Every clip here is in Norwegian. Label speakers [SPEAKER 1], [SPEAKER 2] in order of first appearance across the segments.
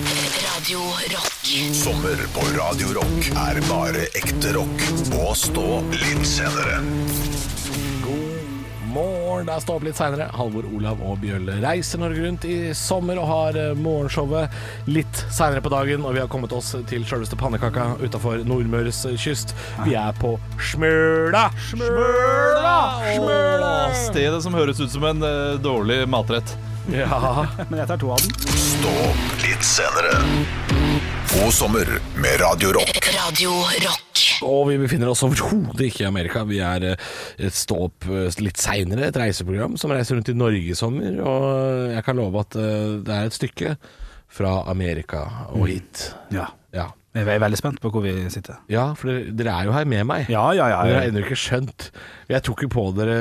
[SPEAKER 1] Radio Rock.
[SPEAKER 2] Sommer på Radio Rock er bare ekte rock. Og stå litt senere.
[SPEAKER 3] God morgen. Det er Stå opp litt seinere. Halvor Olav og Bjølle reiser Norge rundt i sommer og har eh, morgenshowet litt seinere på dagen. Og vi har kommet oss til sjølveste pannekaka utafor Nordmøres eh, kyst. Vi er på Smøla! Smøla! Smøla!
[SPEAKER 4] Stedet som høres ut som en eh, dårlig matrett.
[SPEAKER 3] Ja.
[SPEAKER 5] Men jeg tar to av den.
[SPEAKER 2] Stå opp litt senere. God sommer med Radio Rock.
[SPEAKER 1] Radio Rock.
[SPEAKER 3] Og vi befinner oss overhodet ikke i Amerika. Vi er eh, et stå opp eh, litt seinere, et reiseprogram som reiser rundt i Norge i sommer. Og jeg kan love at eh, det er et stykke fra Amerika og hit.
[SPEAKER 5] Ja.
[SPEAKER 3] Ja,
[SPEAKER 5] Jeg er veldig spent på hvor vi sitter.
[SPEAKER 3] ja for dere, dere er jo her med meg.
[SPEAKER 5] Ja, ja,
[SPEAKER 3] Men Dere
[SPEAKER 5] ja.
[SPEAKER 3] har ennå ikke skjønt. Jeg tok jo på dere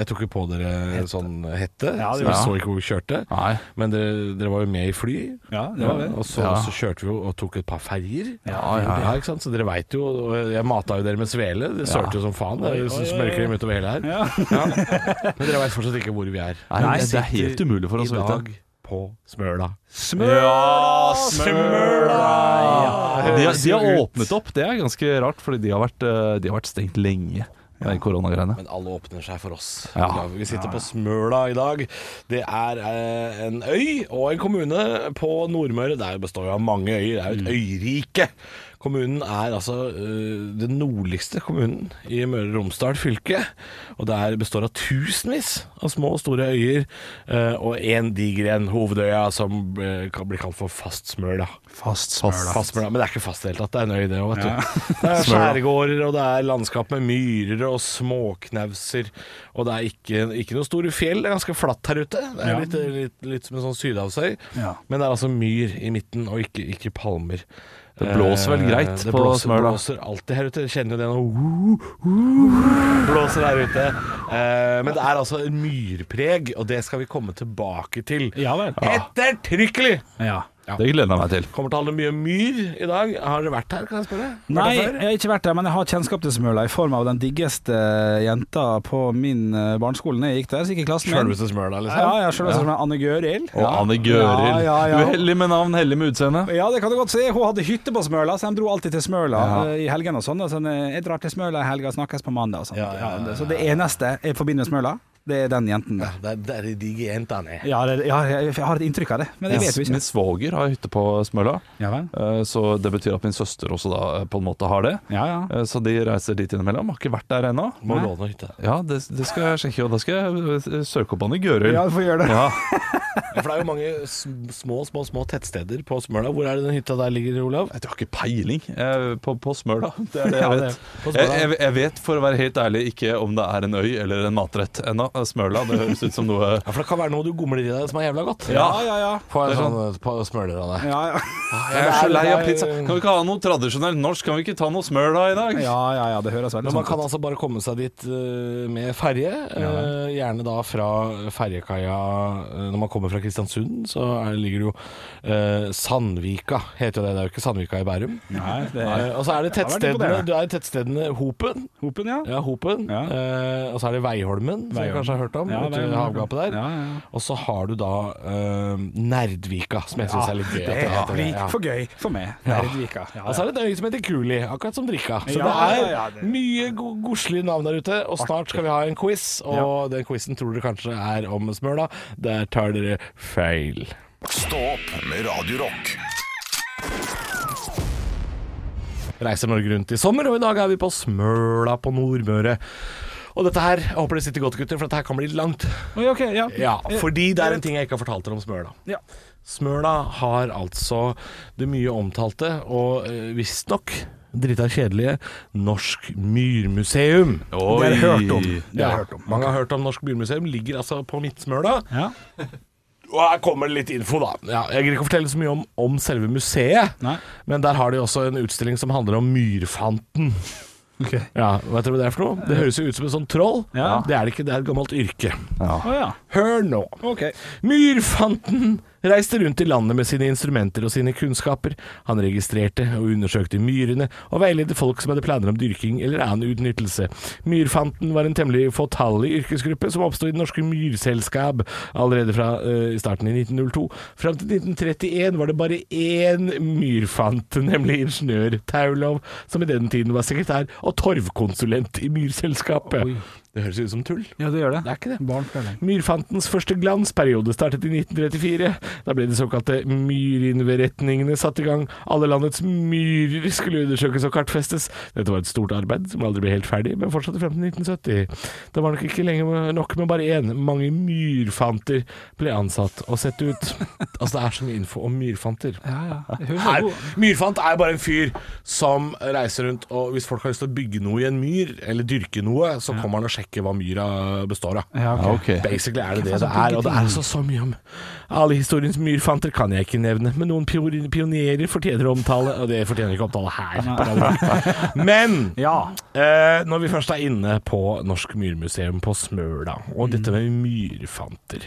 [SPEAKER 3] Jeg tok jo på dere sånn hette,
[SPEAKER 5] Ja,
[SPEAKER 3] så vi
[SPEAKER 5] det
[SPEAKER 4] gjorde
[SPEAKER 3] så ikke hvor vi kjørte.
[SPEAKER 4] Nei.
[SPEAKER 3] Men dere, dere var jo med i fly,
[SPEAKER 5] Ja, det var det.
[SPEAKER 3] og så,
[SPEAKER 4] Ja.
[SPEAKER 3] så kjørte vi jo og tok et par ferjer.
[SPEAKER 5] Ja,
[SPEAKER 3] ja, ikke sant? Så dere veit jo, og jeg mata jo dere med svele. Dere sølte jo som faen. Det er jo smørkrem utover hele her.
[SPEAKER 5] Ja.
[SPEAKER 3] Ja. Men dere veit fortsatt ikke hvor vi er.
[SPEAKER 4] Nei,
[SPEAKER 5] Nei,
[SPEAKER 4] det er helt umulig for oss
[SPEAKER 3] I
[SPEAKER 4] å vite.
[SPEAKER 3] dag på Smøla.
[SPEAKER 4] Ja, smøla! De, har- de har
[SPEAKER 3] Ut.
[SPEAKER 4] åpnet opp, det er ganske rart, fordi de har vært, eh, de har vært stengt lenge. med de koronagreiene.
[SPEAKER 3] Men alle åpner seg for oss.
[SPEAKER 4] Ja.
[SPEAKER 3] I dag. Vi sitter på Smøla i dag. Det er eh, en øy og en kommune på Nordmøre. Det er jo- består jo av mange øyer. Det er
[SPEAKER 4] Mm.
[SPEAKER 3] jo et øyrike. Kommunen er altså eh, den nordligste kommunen i Møre og Romsdal fylke. Og det er, består av tusenvis av små og store øyer. eh, og én diger en, hovedøya, som eh, kan bli kalt for Fastsmøla.
[SPEAKER 5] Fast smøla.
[SPEAKER 3] Fastmølla, men det er ikke fast i det hele tatt. Det er en øy, det òg, vet du. Det er skjærgårder, og det er landskap med myrer og småknauser. Og det er ikke, ikke noen store fjell. Det er ganske flatt her ute. Det er
[SPEAKER 5] Ja.
[SPEAKER 3] litt, litt, litt som en sånn sydhavsøy.
[SPEAKER 5] Ja.
[SPEAKER 3] Men det er altså myr i midten, og ikke, ikke palmer.
[SPEAKER 4] Det blåser vel
[SPEAKER 3] Eh,
[SPEAKER 4] greit
[SPEAKER 3] det
[SPEAKER 4] på
[SPEAKER 3] blåser,
[SPEAKER 4] Smøla.
[SPEAKER 3] blåser alltid her ute. Jeg Kjenner jo det nå. Blåser her ute. Eh, men det er altså en myrpreg, og det skal vi komme tilbake til.
[SPEAKER 5] Ja vel.
[SPEAKER 3] Ettertrykkelig!
[SPEAKER 5] Ja.
[SPEAKER 4] Det gleder jeg meg til.
[SPEAKER 3] Kommer til å handle mye om myr i dag. Har dere vært her, kan jeg spørre? Vært
[SPEAKER 5] Nei,
[SPEAKER 3] her
[SPEAKER 5] jeg
[SPEAKER 3] før?
[SPEAKER 5] har ikke vært der, men jeg har kjennskap til Smøla i form av den diggeste eh, jenta på min eh, barneskole. Når jeg gikk der, så gikk jeg i klassen min.
[SPEAKER 3] Sjølveste Smøla, liksom?
[SPEAKER 5] Ja, ja, selveste Smøla. Anne Gøril.
[SPEAKER 4] Og Anne Gørild.
[SPEAKER 5] Ja, ja, ja.
[SPEAKER 4] Uheldig med navn, heldig med utseende.
[SPEAKER 5] Ja, det kan du godt si. Hun hadde hytte på Smøla, så de dro alltid til Smøla eh, i helgene og sånn. Og sånn, eh, 'Jeg drar til Smøla i helga, snakkes på mandag' og sånn.
[SPEAKER 3] Ja, ja, ja, ja.
[SPEAKER 5] Så det eneste jeg forbinder med Smøla, det er den jenten der.
[SPEAKER 3] Det er- det er de digge jentene.
[SPEAKER 5] Ja, det, ja, jeg jeg har et inntrykk av det, men det vet vi
[SPEAKER 4] Min
[SPEAKER 5] ikke.
[SPEAKER 4] svoger har hytte på Smøla,
[SPEAKER 5] Ja vel?
[SPEAKER 4] eh, så det betyr at min søster også da eh, på en måte har det.
[SPEAKER 5] Ja, ja.
[SPEAKER 4] Eh, Så de reiser dit innimellom. Har ikke vært der ennå.
[SPEAKER 3] Må låne hytte.
[SPEAKER 4] Ja, det, det skal jeg sjekke, og da skal jeg eh, søke opp Anne Gørild.
[SPEAKER 5] Ja, du får gjøre det.
[SPEAKER 4] Ja.
[SPEAKER 3] Ja, for det er jo mange sm- små, små små tettsteder på Smøla. Hvor er det den hytta der ligger, Olav?
[SPEAKER 4] Jeg har ikke peiling eh, på, på Smøla. Det er det jeg
[SPEAKER 5] Ja, det-
[SPEAKER 4] vet.
[SPEAKER 3] på Smøla.
[SPEAKER 4] Jeg, jeg, jeg vet for å være helt ærlig ikke om det er en øy eller en matrett ennå. Smøla, det høres ut som noe eh,
[SPEAKER 3] Ja, For det kan være noe du gomler i deg som er jævla godt.
[SPEAKER 4] Ja,
[SPEAKER 5] ja, ja.
[SPEAKER 3] Få en
[SPEAKER 4] Det er
[SPEAKER 3] sånn eh, på smøler av deg.
[SPEAKER 5] Ja, ja.
[SPEAKER 4] Jeg er så lei av pizza. Kan vi ikke ha noe tradisjonelt norsk? Kan vi ikke ta noe Smøla i dag?
[SPEAKER 5] ja, ja, ja, det høres veldig
[SPEAKER 3] Men man
[SPEAKER 5] sånn
[SPEAKER 3] kan
[SPEAKER 5] ut.
[SPEAKER 3] altså bare komme seg dit eh, med ferje. eh, gjerne da fra ferjekaia eh, Når man kommer fra Kristiansund, så er, ligger det jo eh, Sandvika, heter jo det. Det er jo ikke Sandvika i Bærum.
[SPEAKER 5] Nei, det er
[SPEAKER 3] Eh, og så er det
[SPEAKER 5] Ja, det er
[SPEAKER 3] tettstedene
[SPEAKER 5] imponerende.
[SPEAKER 3] Du er i tettstedene Hopen.
[SPEAKER 5] Hopen, ja.
[SPEAKER 3] Ja, Hopen.
[SPEAKER 5] Ja.
[SPEAKER 3] Eh, og så er det Veiholmen, som du
[SPEAKER 5] Veiholmen.
[SPEAKER 3] kanskje har hørt om.
[SPEAKER 5] Ja,
[SPEAKER 3] ute
[SPEAKER 5] Veiholmen.
[SPEAKER 3] i havgapet der.
[SPEAKER 5] Ja, ja.
[SPEAKER 3] Og så har du da eh, Nerdvika, som jeg syns er litt gøy. at det heter det,
[SPEAKER 5] blir
[SPEAKER 3] ja.
[SPEAKER 5] for gøy for meg. Nerdvika. Ja,
[SPEAKER 3] Og så er det en øy som heter Kuli, akkurat som Drikka. Så
[SPEAKER 5] Ja,
[SPEAKER 3] det er
[SPEAKER 5] ja, ja, det-
[SPEAKER 3] mye go godslige navn der ute. Og snart skal vi ha en quiz, og den quizen tror dere kanskje er om Smøla. Der tar dere feil.
[SPEAKER 2] Stå opp med Radio Rock.
[SPEAKER 3] reiser Norge rundt i sommer, og i dag er vi på Smøla på Nordmøre. Og dette her, jeg håper det sitter godt, gutter, for dette her kan bli langt.
[SPEAKER 5] Oi, ok, ja. Eh,
[SPEAKER 3] Ja, fordi det er en ting jeg ikke har fortalt dere om Smøla.
[SPEAKER 5] Ja.
[SPEAKER 3] Smøla har altså det mye omtalte, og eh, visstnok drita kjedelige, Norsk Myrmuseum.
[SPEAKER 4] Oi.
[SPEAKER 5] Det har jeg hørt om. Det har
[SPEAKER 3] Ja,
[SPEAKER 5] jeg hørt om.
[SPEAKER 3] Mange har hørt om Norsk Myrmuseum. Ligger altså på Midtsmøla.
[SPEAKER 5] Ja.
[SPEAKER 3] Og her kommer det litt info, da. Ja, jeg gidder ikke å fortelle så mye om, om selve museet,
[SPEAKER 5] Nei.
[SPEAKER 3] men der har de også en utstilling som handler om myrfanten.
[SPEAKER 5] Ok.
[SPEAKER 3] Ja, Vet dere hva det er for noe? Det høres jo ut som et sånt troll.
[SPEAKER 5] Eh. Ja.
[SPEAKER 3] Det er det ikke, det er et gammelt yrke.
[SPEAKER 5] Å ja.
[SPEAKER 3] Hør nå.
[SPEAKER 5] Ok.
[SPEAKER 3] Myrfanten reiste rundt i landet med sine instrumenter og sine kunnskaper. Han registrerte og undersøkte myrene, og veiledet folk som hadde planer om dyrking eller annen utnyttelse. Myrfanten var en temmelig fåtallig yrkesgruppe som oppstod i Det norske myrselskap allerede fra eh, starten i 1902. Fram til 1931 var det bare én myrfant, nemlig ingeniør Taulov, som i den tiden var sekretær og torvkonsulent i Myrselskapet.
[SPEAKER 5] Oi.
[SPEAKER 3] Det høres ut som tull.
[SPEAKER 5] Ja, det gjør det.
[SPEAKER 3] Det er ikke det.
[SPEAKER 5] Barnefredeling.
[SPEAKER 3] Myrfantens første glansperiode startet i 1934. Da ble de såkalte myrinnberetningene satt i gang. Alle landets myrer skulle undersøkes og kartfestes. Dette var et stort arbeid som aldri ble helt ferdig, men fortsatte frem til 1970. Det var nok ikke lenge nok med bare én. Mange myrfanter ble ansatt og sett ut. Altså, det er så mye info om myrfanter.
[SPEAKER 5] Ja, ja. Hun var
[SPEAKER 3] Her,
[SPEAKER 5] god.
[SPEAKER 3] myrfant er bare en fyr som reiser rundt, og hvis folk har lyst til å bygge noe i en myr, eller dyrke noe, så kommer han og sjekker hva myra består av.
[SPEAKER 5] Ja, ok.
[SPEAKER 4] ok.
[SPEAKER 3] Basically er det det
[SPEAKER 5] Hva
[SPEAKER 3] det
[SPEAKER 5] faen
[SPEAKER 3] er, og det er altså så mye om Alle historiens myrfanter kan jeg ikke nevne, men noen pior- pionerer fortjener omtale, og det fortjener ikke omtale her. Men
[SPEAKER 5] Ja.
[SPEAKER 3] Eh, når vi først er inne på Norsk Myrmuseum på Smøla, og dette med myrfanter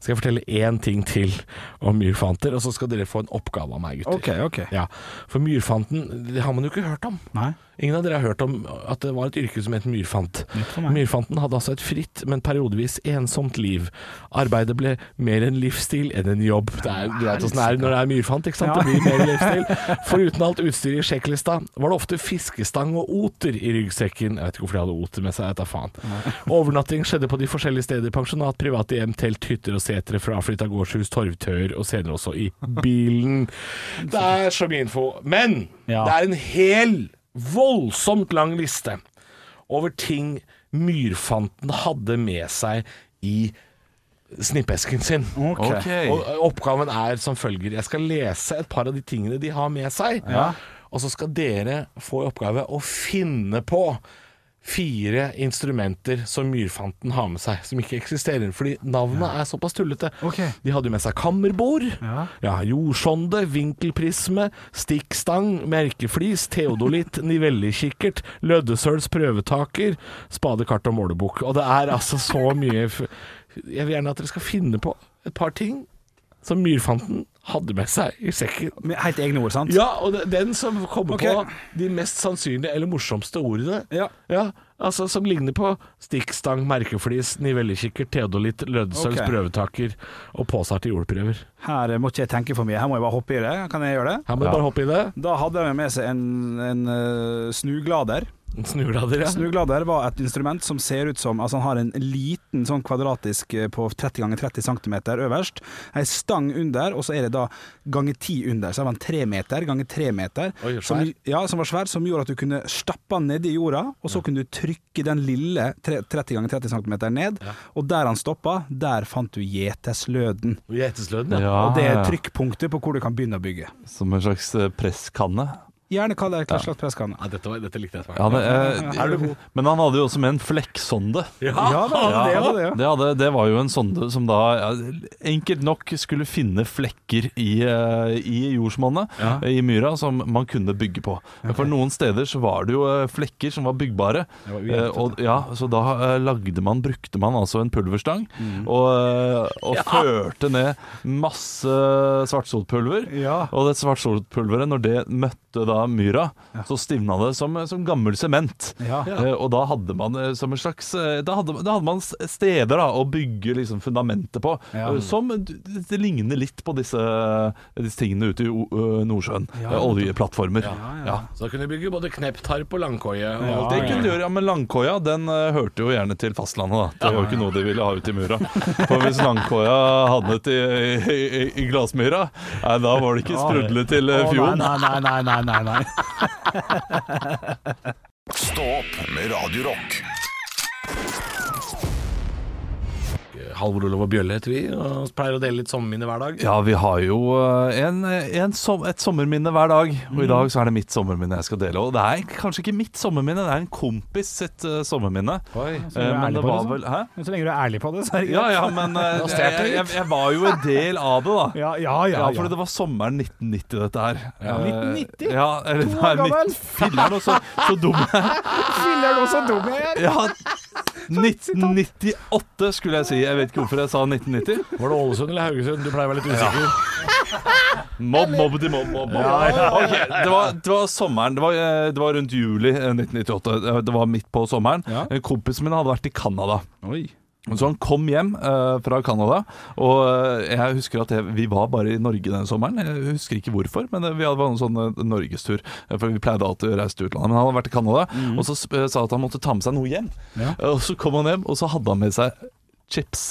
[SPEAKER 3] Skal jeg fortelle én ting til om myrfanter, og så skal dere få en oppgave av meg, gutter.
[SPEAKER 5] Ok, ok.
[SPEAKER 3] Ja, For myrfanten, det har man jo ikke hørt om.
[SPEAKER 5] Nei.
[SPEAKER 3] Ingen av dere har hørt om at det var et yrke som het myrfant.
[SPEAKER 5] Nytt for meg.
[SPEAKER 3] Myrfanten hadde altså et fritt, men periodevis ensomt liv. Arbeidet ble mer en livsstil enn en jobb. Det er du vet åssen det er når det er myrfant, ikke sant.
[SPEAKER 5] Ja.
[SPEAKER 3] Det blir mer livsstil. Foruten alt utstyret i sjekklista, var det ofte fiskestang og oter i ryggsekken. Jeg vet ikke hvorfor de hadde oter med seg, jeg vet da faen. Overnatting skjedde på de forskjellige steder. Pensjonat, private hjem, telt, hytter og setre fra avflytta gårdshus, torvtøyer og senere også i bilen. Det er så mye info. Men
[SPEAKER 5] Ja.
[SPEAKER 3] det er en hel, voldsomt lang liste over ting myrfanten hadde med seg i snippesken sin.
[SPEAKER 5] Ok.
[SPEAKER 3] Og oppgaven er som følger. Jeg skal lese et par av de tingene de har med seg. Og så skal dere få i oppgave å finne på fire instrumenter som myrfanten har med seg, som ikke eksisterer. Fordi navnet er såpass tullete.
[SPEAKER 5] Ok.
[SPEAKER 3] De hadde jo med seg kammerbord,
[SPEAKER 5] Ja.
[SPEAKER 3] jordsonde, vinkelprisme, stikkstang, merkeflis, teodolitt, nivellekikkert, løddesøls prøvetaker, spadekart og målebukk. Og det er altså så mye f Jeg vil gjerne at dere skal finne på et par ting som myrfanten hadde med seg i sekken.
[SPEAKER 5] Med helt egne ord, sant?
[SPEAKER 3] Ja, og det- den som kommer
[SPEAKER 5] Ok.
[SPEAKER 3] på de mest sannsynlige eller morsomste ordene.
[SPEAKER 5] Ja.
[SPEAKER 3] altså Som ligner på stikkstang, merkeflis, nivellekikkert, teodolitt, lødsøls,
[SPEAKER 5] Ok.
[SPEAKER 3] prøvetaker og påsart til jordprøver.
[SPEAKER 5] Her eh, må ikke jeg tenke for mye, her må jeg bare hoppe i det. Kan jeg gjøre det?
[SPEAKER 3] Her må du bare hoppe i det.
[SPEAKER 5] Da hadde de med seg en, en eh, snuglader.
[SPEAKER 3] Snur deg, dere.
[SPEAKER 5] Snuglader var et instrument som ser ut som Altså han har en liten sånn kvadratisk eh, på 30 ganger 30 cm øverst, ei stang under, og så er det da ganger 10 under. Så det var en 3 meter ganger 3 meter.
[SPEAKER 3] Oi, svær.
[SPEAKER 5] som, ja, som var svær, som gjorde at du kunne stappe den nedi jorda, og så kunne du trykke den lille tre- 30 ganger 30 cm ned, og der han stoppa, der fant du gjetesløden.
[SPEAKER 3] Gjetesløden, Ah, ja.
[SPEAKER 5] Og det er trykkpunktet på hvor du kan begynne å bygge.
[SPEAKER 4] Som en slags eh, presskanne.
[SPEAKER 5] Gjerne kall det hva slags presskanne.
[SPEAKER 3] ja dette, var, dette likte jeg.
[SPEAKER 4] Ja,
[SPEAKER 3] svært.
[SPEAKER 4] det, eh,
[SPEAKER 5] Er du god?
[SPEAKER 4] men han hadde jo også med en flekksonde.
[SPEAKER 5] Ja, det, det, var det, ja.
[SPEAKER 4] Det, hadde, det var jo en sonde som da ja, enkelt nok skulle finne flekker i, eh, i jordsmonnet, eh, i myra, som man kunne bygge på. Men For noen steder så var det jo eh, flekker som var byggbare.
[SPEAKER 5] Det var ujevnt,
[SPEAKER 4] eh, og, ja, så da eh, lagde man, brukte man altså en pulverstang,
[SPEAKER 5] Mm.
[SPEAKER 4] og, eh, og førte ned masse svartsotpulver.
[SPEAKER 5] Ja.
[SPEAKER 4] Og det svartsolpulveret, når det møtte da myra, så stivna det som, som gammel sement.
[SPEAKER 5] Ja.
[SPEAKER 4] Eh, og da hadde man eh, som en slags eh, Da hadde, da hadde man s- steder da, å bygge liksom, fundamentet på.
[SPEAKER 5] Ja.
[SPEAKER 4] eh, Som d- det ligner litt på disse, disse tingene ute i o- ø, Nordsjøen.
[SPEAKER 5] Ja,
[SPEAKER 4] Eh, Oljeplattformer.
[SPEAKER 5] ja.
[SPEAKER 4] Ja.
[SPEAKER 3] Så da kunne du bygge både kneptarp og langkoie. og
[SPEAKER 5] Ja,
[SPEAKER 3] alt
[SPEAKER 4] Det
[SPEAKER 3] mulig.
[SPEAKER 4] kunne du gjøre, ja, Men langkoia den eh, hørte jo gjerne til fastlandet. da Det var jo ikke noe de ville ha ut i mura. For hvis langkoia havnet i, i, i, i glassmyra, nei, da var det ikke sprudle til eh,
[SPEAKER 5] Å,
[SPEAKER 4] fjorden.
[SPEAKER 5] Nei, nei, nei, nei, nei, nei.
[SPEAKER 2] Stå opp med Radio Rock.
[SPEAKER 3] Halvor Olav og Bjølle heter vi, og pleier å dele litt sommerminner hver dag.
[SPEAKER 4] Ja, vi har jo eh, en, en, som- et sommerminne hver dag, og i
[SPEAKER 5] Mm.
[SPEAKER 4] dag så er det mitt sommerminne jeg skal dele. Og det er kanskje ikke mitt sommerminne, det er en kompis sitt eh, sommerminne.
[SPEAKER 3] Oi.
[SPEAKER 5] du er
[SPEAKER 4] Eh,
[SPEAKER 5] ærlig
[SPEAKER 4] men det
[SPEAKER 5] på
[SPEAKER 4] var
[SPEAKER 5] det,
[SPEAKER 4] vel Hæ?
[SPEAKER 5] Men så lenge du er ærlig på det, så er det greit.
[SPEAKER 4] Ja ja, men eh,
[SPEAKER 3] Da stjal
[SPEAKER 4] jeg,
[SPEAKER 3] jeg litt.
[SPEAKER 4] jeg, jeg var jo en del av det, da.
[SPEAKER 5] Ja, ja, ja,
[SPEAKER 4] Ja,
[SPEAKER 5] ja.
[SPEAKER 4] for det var sommeren 1990 dette her.
[SPEAKER 5] Ja.
[SPEAKER 4] Eh,
[SPEAKER 5] 1990?
[SPEAKER 4] Ja, eller,
[SPEAKER 5] To
[SPEAKER 4] nei,
[SPEAKER 5] år gammel?
[SPEAKER 4] nitt- Filler'n, og så, så dum jeg
[SPEAKER 5] Filler, du er så dum jeg er!
[SPEAKER 4] Ja, 1998 skulle jeg si. Jeg vet ikke hvorfor jeg sa 1990.
[SPEAKER 3] Var det Ålesund eller Haugesund? Du pleier å være litt usikker.
[SPEAKER 4] Mobb, mobb, de mobb, mobb. mobb. Ok, det, var, det var sommeren. Det var, eh, det var rundt juli eh, 1998. Eh, Det var midt på sommeren.
[SPEAKER 5] Ja.
[SPEAKER 4] Eh, Kompisen min hadde vært i Canada.
[SPEAKER 5] Oi.
[SPEAKER 4] Så han kom hjem eh, fra Canada, og eh, jeg husker at jeg, vi var bare i Norge den sommeren. Jeg husker ikke hvorfor, men eh, vi hadde var en sånn eh, norgestur. eh, For vi pleide alltid å reise til utlandet. Men han hadde vært i Canada, og så sp- eh, sa at han måtte ta med seg noe hjem.
[SPEAKER 5] Ja.
[SPEAKER 4] Eh, Og så kom han hjem, og så hadde han med seg chips.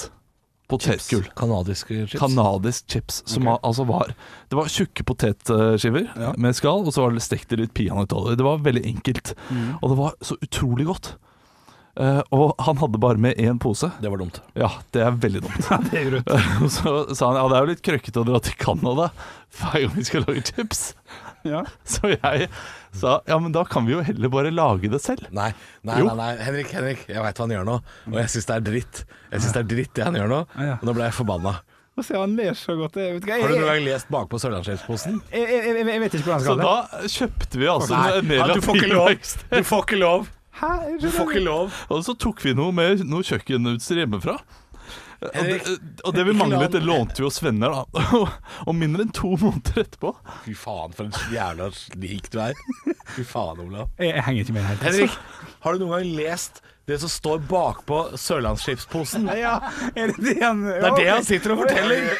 [SPEAKER 4] Potetgull.
[SPEAKER 3] Kanadiske chips.
[SPEAKER 4] Kanadisk chips. Som al- altså var Det var tjukke potetskiver
[SPEAKER 5] Ja.
[SPEAKER 4] med skall, og så var det stekt i litt peanøttoller. Det var veldig enkelt.
[SPEAKER 3] Mm.
[SPEAKER 4] Og det var så utrolig godt. Eh, og han hadde bare med én pose.
[SPEAKER 3] det var dumt.
[SPEAKER 4] Ja, det er veldig dumt.
[SPEAKER 5] Det er grønt.
[SPEAKER 4] Og så sa han ja, det er jo litt krøkkete å dra til Canada hver gang vi skal lage chips.
[SPEAKER 5] Ja.
[SPEAKER 4] Så jeg sa ja, men da kan vi jo heller bare lage det selv.
[SPEAKER 3] Nei, nei,
[SPEAKER 4] Jo.
[SPEAKER 3] nei, nei. Henrik, Henrik, jeg veit hva han gjør nå, og jeg syns det er dritt. Jeg syns det er dritt det han gjør nå,
[SPEAKER 5] Ja, ja.
[SPEAKER 3] og nå ble jeg forbanna.
[SPEAKER 5] Få se, han ler så godt. Jeg vet, ikke,
[SPEAKER 3] Har du noen
[SPEAKER 5] jeg, jeg,
[SPEAKER 3] gang lest bakpå Sørlandsskipsposen?
[SPEAKER 5] jeg, jeg, jeg, jeg vet ikke hvordan jeg
[SPEAKER 4] Så
[SPEAKER 5] skal ha det.
[SPEAKER 4] da kjøpte vi altså
[SPEAKER 3] Nei,
[SPEAKER 4] en del
[SPEAKER 3] ja,
[SPEAKER 4] av
[SPEAKER 3] du får ikke lov!
[SPEAKER 4] bilverkstedet.
[SPEAKER 3] Du får ikke lov!
[SPEAKER 5] Hæ? Jeg
[SPEAKER 3] Du får
[SPEAKER 5] skjønner
[SPEAKER 3] ikke lov.
[SPEAKER 4] Og så tok vi noe med noe kjøkkenutstyr hjemmefra. Og
[SPEAKER 3] Henrik,
[SPEAKER 4] det, og det vi
[SPEAKER 3] ikke la
[SPEAKER 4] manglet, det
[SPEAKER 3] han-
[SPEAKER 4] lånte vi hos venner, da. Og- Og mindre enn to måneder etterpå
[SPEAKER 3] Fy faen, for en jævla slik du er. Fy faen, Olav.
[SPEAKER 5] Jeg, jeg henger ikke med helt.
[SPEAKER 3] Henrik, har du noen gang lest det som står bakpå Sørlandsskipsposen?
[SPEAKER 5] Ja, er det det han
[SPEAKER 3] Det er det han sitter og forteller!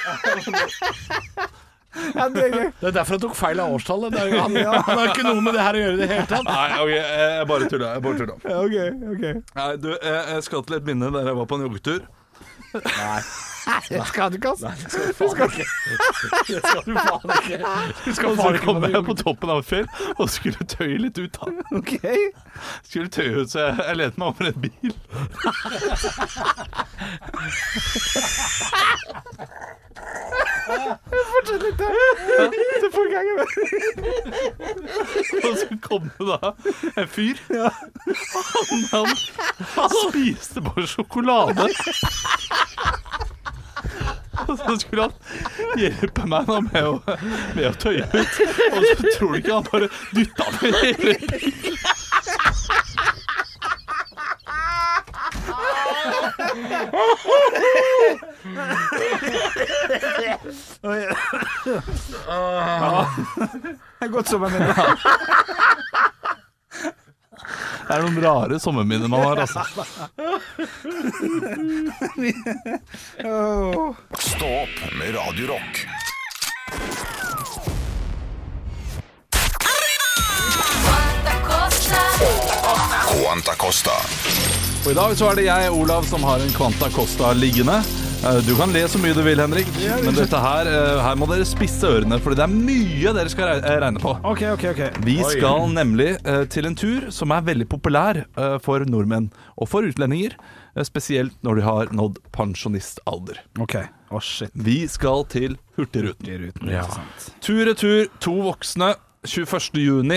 [SPEAKER 5] Ja, det er gøy.
[SPEAKER 3] Det er derfor han tok feil av årstallet. Det er jo han, han har ikke noe med det her å gjøre i det hele tatt.
[SPEAKER 4] Nei, ok, jeg bare tulla. Jeg bare tulla.
[SPEAKER 5] Ja, OK. ok
[SPEAKER 4] Nei, du, jeg, jeg skal til et minne der jeg var på en joggetur.
[SPEAKER 5] Skadekast.
[SPEAKER 3] Det skal du faen ikke. Du skal
[SPEAKER 4] Og så
[SPEAKER 3] faen ikke
[SPEAKER 4] kom jeg på toppen av et fjell og skulle tøye litt ut. da.
[SPEAKER 5] OK.
[SPEAKER 4] Skulle tøye ut, så jeg, jeg lente meg over en bil.
[SPEAKER 5] Det får ikke jeg med.
[SPEAKER 4] Og så kom det da en fyr. Han, han, han spiste bare sjokolade. Og så skulle han hjelpe meg da med å, med å tøye ut. Og så tror du ikke han bare dytta meg i hele bilen.
[SPEAKER 5] Det er godt som en venn.
[SPEAKER 4] Det er noen rare sommerminner man har, altså.
[SPEAKER 5] Åh.
[SPEAKER 2] Stå opp med Radio Rock. Quanta Costa.
[SPEAKER 4] Og I dag så er det jeg, Olav, som har en Quanta Costa liggende. Eh, Du kan le så mye du vil, Henrik, men dette her, eh, her må dere spisse ørene, for det er mye dere skal re- eh, regne på.
[SPEAKER 5] OK, OK. ok
[SPEAKER 4] Vi skal nemlig eh, til en tur som er veldig populær eh, for nordmenn og for utlendinger, eh, spesielt når de har nådd pensjonistalder.
[SPEAKER 5] OK. Å, shit.
[SPEAKER 4] Vi skal til Hurtigruten.
[SPEAKER 5] Det er uten ja. interessant.
[SPEAKER 4] Tur-retur to voksne. 21. juni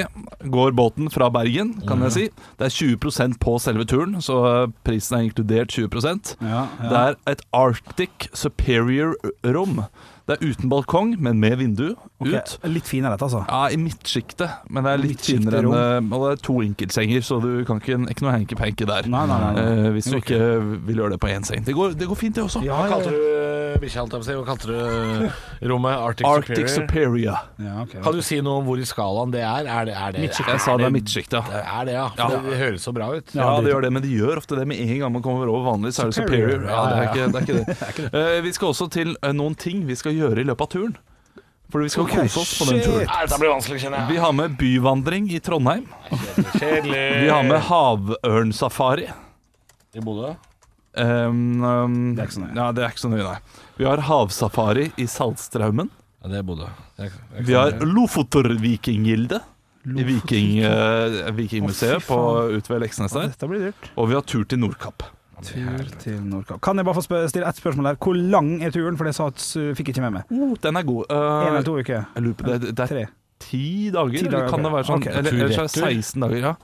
[SPEAKER 4] går båten fra Bergen, kan
[SPEAKER 5] Mhm.
[SPEAKER 4] jeg si. Det er 20 på selve turen, så eh, prisen er inkludert 20
[SPEAKER 5] Ja, ja.
[SPEAKER 4] Det er et Arctic Superior-rom. Det er uten balkong, men med vindu
[SPEAKER 5] Ok,
[SPEAKER 4] ut.
[SPEAKER 5] Litt finere dette, altså.
[SPEAKER 4] Ja, I midtsjiktet, men det er litt
[SPEAKER 5] Midtsjiktet
[SPEAKER 4] finere enn eh, Og det er to enkeltsenger, så du kan ikke, ikke noe hanky-panky der.
[SPEAKER 5] Nei, nei, nei, nei.
[SPEAKER 4] eh, hvis du ikke vil gjøre det på én seng. Det går, det går fint, det også.
[SPEAKER 5] Ja,
[SPEAKER 3] Hva
[SPEAKER 5] ja,
[SPEAKER 3] kalte du eh, bikkja, holdt jeg på å si? Hva kalte du eh, rommet? Arctic,
[SPEAKER 4] Arctic
[SPEAKER 3] Superior?
[SPEAKER 4] Superior.
[SPEAKER 5] ja, ok.
[SPEAKER 3] Kan du si noe om hvor i skalaen det er? Er det, er det,
[SPEAKER 4] Jeg sa det er midtsjiktet.
[SPEAKER 3] Det er det, ja. For
[SPEAKER 4] Ja.
[SPEAKER 3] Det høres så bra ut.
[SPEAKER 4] Ja, det gjør det, men de gjør ofte det med en gang man kommer over vanlig, så er det superior. Ja, det er ikke det. Er ikke det. Eh, vi skal også til eh, noen ting vi skal gjøre i løpet av turen. For vi skal
[SPEAKER 5] Ok,
[SPEAKER 4] kose oss på den
[SPEAKER 5] shit.
[SPEAKER 4] turen.
[SPEAKER 3] Nei, Dette blir vanskelig, kjenner
[SPEAKER 4] Vi
[SPEAKER 3] jeg.
[SPEAKER 4] har med byvandring i Trondheim.
[SPEAKER 3] Kjedelig.
[SPEAKER 4] Vi har med havørnsafari.
[SPEAKER 3] I Bodø?
[SPEAKER 4] Um, um,
[SPEAKER 5] Det er ikke så nøye.
[SPEAKER 4] Ja, det er ikke så nøye, nei. Vi har havsafari i Saltstraumen.
[SPEAKER 3] Ja, det er Bodø. Jeg- jeg-
[SPEAKER 4] Vi har Lofotervikinggilde i Viking, eh,
[SPEAKER 5] Å,
[SPEAKER 4] Vikingmuseet
[SPEAKER 5] fy
[SPEAKER 4] på
[SPEAKER 5] faen.
[SPEAKER 4] ut ved Leksnes
[SPEAKER 5] Ja,
[SPEAKER 4] der.
[SPEAKER 5] Dette blir dyrt.
[SPEAKER 4] Og vi har tur til Nordkapp.
[SPEAKER 5] Tur til Nordkapp. Kan jeg bare få spør stille ett spørsmål her? Hvor lang er turen? For det sa at s- fikk jeg ikke med meg.
[SPEAKER 4] Oh, den er god.
[SPEAKER 5] En
[SPEAKER 4] Eh,
[SPEAKER 5] eller to uker?
[SPEAKER 4] jeg lurer på det, det er
[SPEAKER 5] Tre?
[SPEAKER 4] ti dager,
[SPEAKER 5] Ti
[SPEAKER 4] eller
[SPEAKER 5] dager,
[SPEAKER 4] kan det
[SPEAKER 5] ok.
[SPEAKER 4] være sånn?
[SPEAKER 5] Ok.
[SPEAKER 4] Eller,
[SPEAKER 3] Tur,
[SPEAKER 4] eller så er
[SPEAKER 3] retur.
[SPEAKER 4] det 16 dager, ja.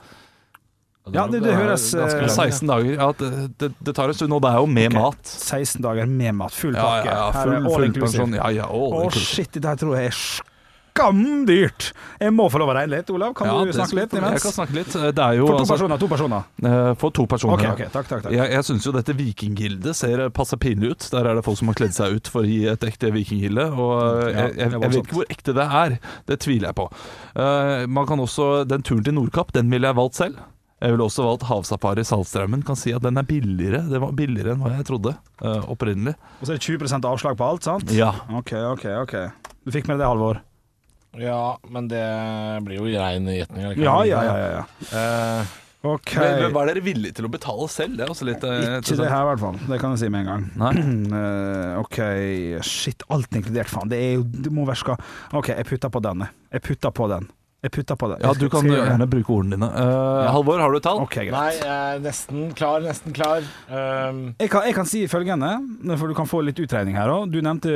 [SPEAKER 5] Ja, det- det høres,
[SPEAKER 3] er ganske
[SPEAKER 5] eh,
[SPEAKER 3] langt.
[SPEAKER 4] 16 dager, ja det, det, det tar en stund, og det er jo med
[SPEAKER 5] Ok.
[SPEAKER 4] mat.
[SPEAKER 5] 16 dager med mat. Full
[SPEAKER 4] Ja,
[SPEAKER 5] pakke.
[SPEAKER 4] ja, ja,
[SPEAKER 5] Her er
[SPEAKER 4] full,
[SPEAKER 5] all
[SPEAKER 4] full
[SPEAKER 5] inclusive.
[SPEAKER 4] pensjon. Ja, ja, all
[SPEAKER 5] Å,
[SPEAKER 4] inclusive.
[SPEAKER 5] shit, dette her tror jeg er skamdyrt! Jeg må få lov å regne litt, Olav. Kan
[SPEAKER 4] Ja,
[SPEAKER 5] du
[SPEAKER 4] det-
[SPEAKER 5] snakke litt
[SPEAKER 4] Jeg
[SPEAKER 5] imens?
[SPEAKER 4] kan snakke litt. Det er jo
[SPEAKER 5] For to
[SPEAKER 4] altså-
[SPEAKER 5] personer. to personer
[SPEAKER 4] Eh, For to personer.
[SPEAKER 5] Ok,
[SPEAKER 4] ja.
[SPEAKER 5] ok, takk, takk, takk.
[SPEAKER 4] Jeg, jeg syns jo dette vikinggildet ser passer pinlig ut. Der er det folk som har kledd seg ut for å gi et ekte vikinggilde. Og eh,
[SPEAKER 5] Ja,
[SPEAKER 4] jeg, jeg,
[SPEAKER 5] det
[SPEAKER 4] jeg
[SPEAKER 5] var
[SPEAKER 4] vet
[SPEAKER 5] sant.
[SPEAKER 4] ikke hvor ekte det er. Det tviler jeg på. Eh, man kan også, Den turen til Nordkapp den ville jeg valgt selv. Jeg ville også valgt Havsafari Saltstraumen. Kan si at den er billigere. Det var billigere enn hva jeg trodde eh, opprinnelig.
[SPEAKER 5] Og så er det 20 avslag på alt, sant?
[SPEAKER 4] Ja.
[SPEAKER 5] OK, OK. ok Du fikk med deg det, Halvor?
[SPEAKER 3] Ja, men det blir jo rein gjetning. eller?
[SPEAKER 5] Ja, ja, ja. ja, ja.
[SPEAKER 4] Eh,
[SPEAKER 5] OK.
[SPEAKER 4] men- men Var dere villige til å betale selv? Det er også litt eh,
[SPEAKER 5] Ikke det her, i hvert fall. Det kan jeg si med en gang.
[SPEAKER 4] Nei.
[SPEAKER 5] Eh, OK, shit. Alt inkludert, faen. Det, er jo, det må være skal OK, jeg putter på den. jeg. Jeg putter på den. Jeg putter på den.
[SPEAKER 4] Ja,
[SPEAKER 5] Jeg
[SPEAKER 4] du
[SPEAKER 5] skal-
[SPEAKER 4] kan
[SPEAKER 5] skal gjøre
[SPEAKER 4] gjerne
[SPEAKER 5] det.
[SPEAKER 4] bruke ordene dine. Eh, Halvor, har du et tall?
[SPEAKER 5] OK, greit.
[SPEAKER 3] Nei, jeg er nesten klar, nesten klar. Ehm,
[SPEAKER 5] Jeg kan, jeg kan si følgende, for du kan få litt utregning her òg. Du nevnte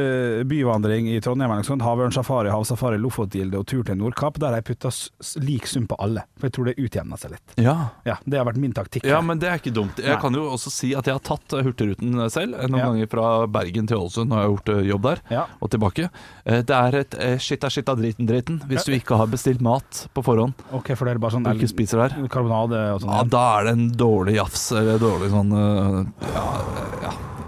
[SPEAKER 5] eh, byvandring i Trondheim, eller noe sånt. Havørn safari, havsafari, Lofotgilde og tur til Nordkapp. Der har jeg putta s- s- lik sum på alle, for jeg tror det utjevner seg litt.
[SPEAKER 4] Ja.
[SPEAKER 5] Ja, Det har vært min taktikk.
[SPEAKER 4] Ja,
[SPEAKER 5] her.
[SPEAKER 4] men det er ikke dumt. Jeg
[SPEAKER 5] Nei.
[SPEAKER 4] kan jo også si at jeg har tatt eh, Hurtigruten selv. eh, Noen
[SPEAKER 5] Ja.
[SPEAKER 4] ganger fra Bergen til Ålesund når jeg har gjort eh, jobb der,
[SPEAKER 5] Ja.
[SPEAKER 4] og tilbake. Eh, Det er et eh, shit er shit av driten driten hvis du ikke har bestilt mat på forhånd
[SPEAKER 5] OK, for det er bare sånn
[SPEAKER 4] og ikke spiser der.
[SPEAKER 5] karbonade og
[SPEAKER 4] Ja,
[SPEAKER 5] sånn.
[SPEAKER 4] da er det en dårlig jafs eller dårlig sånn eh,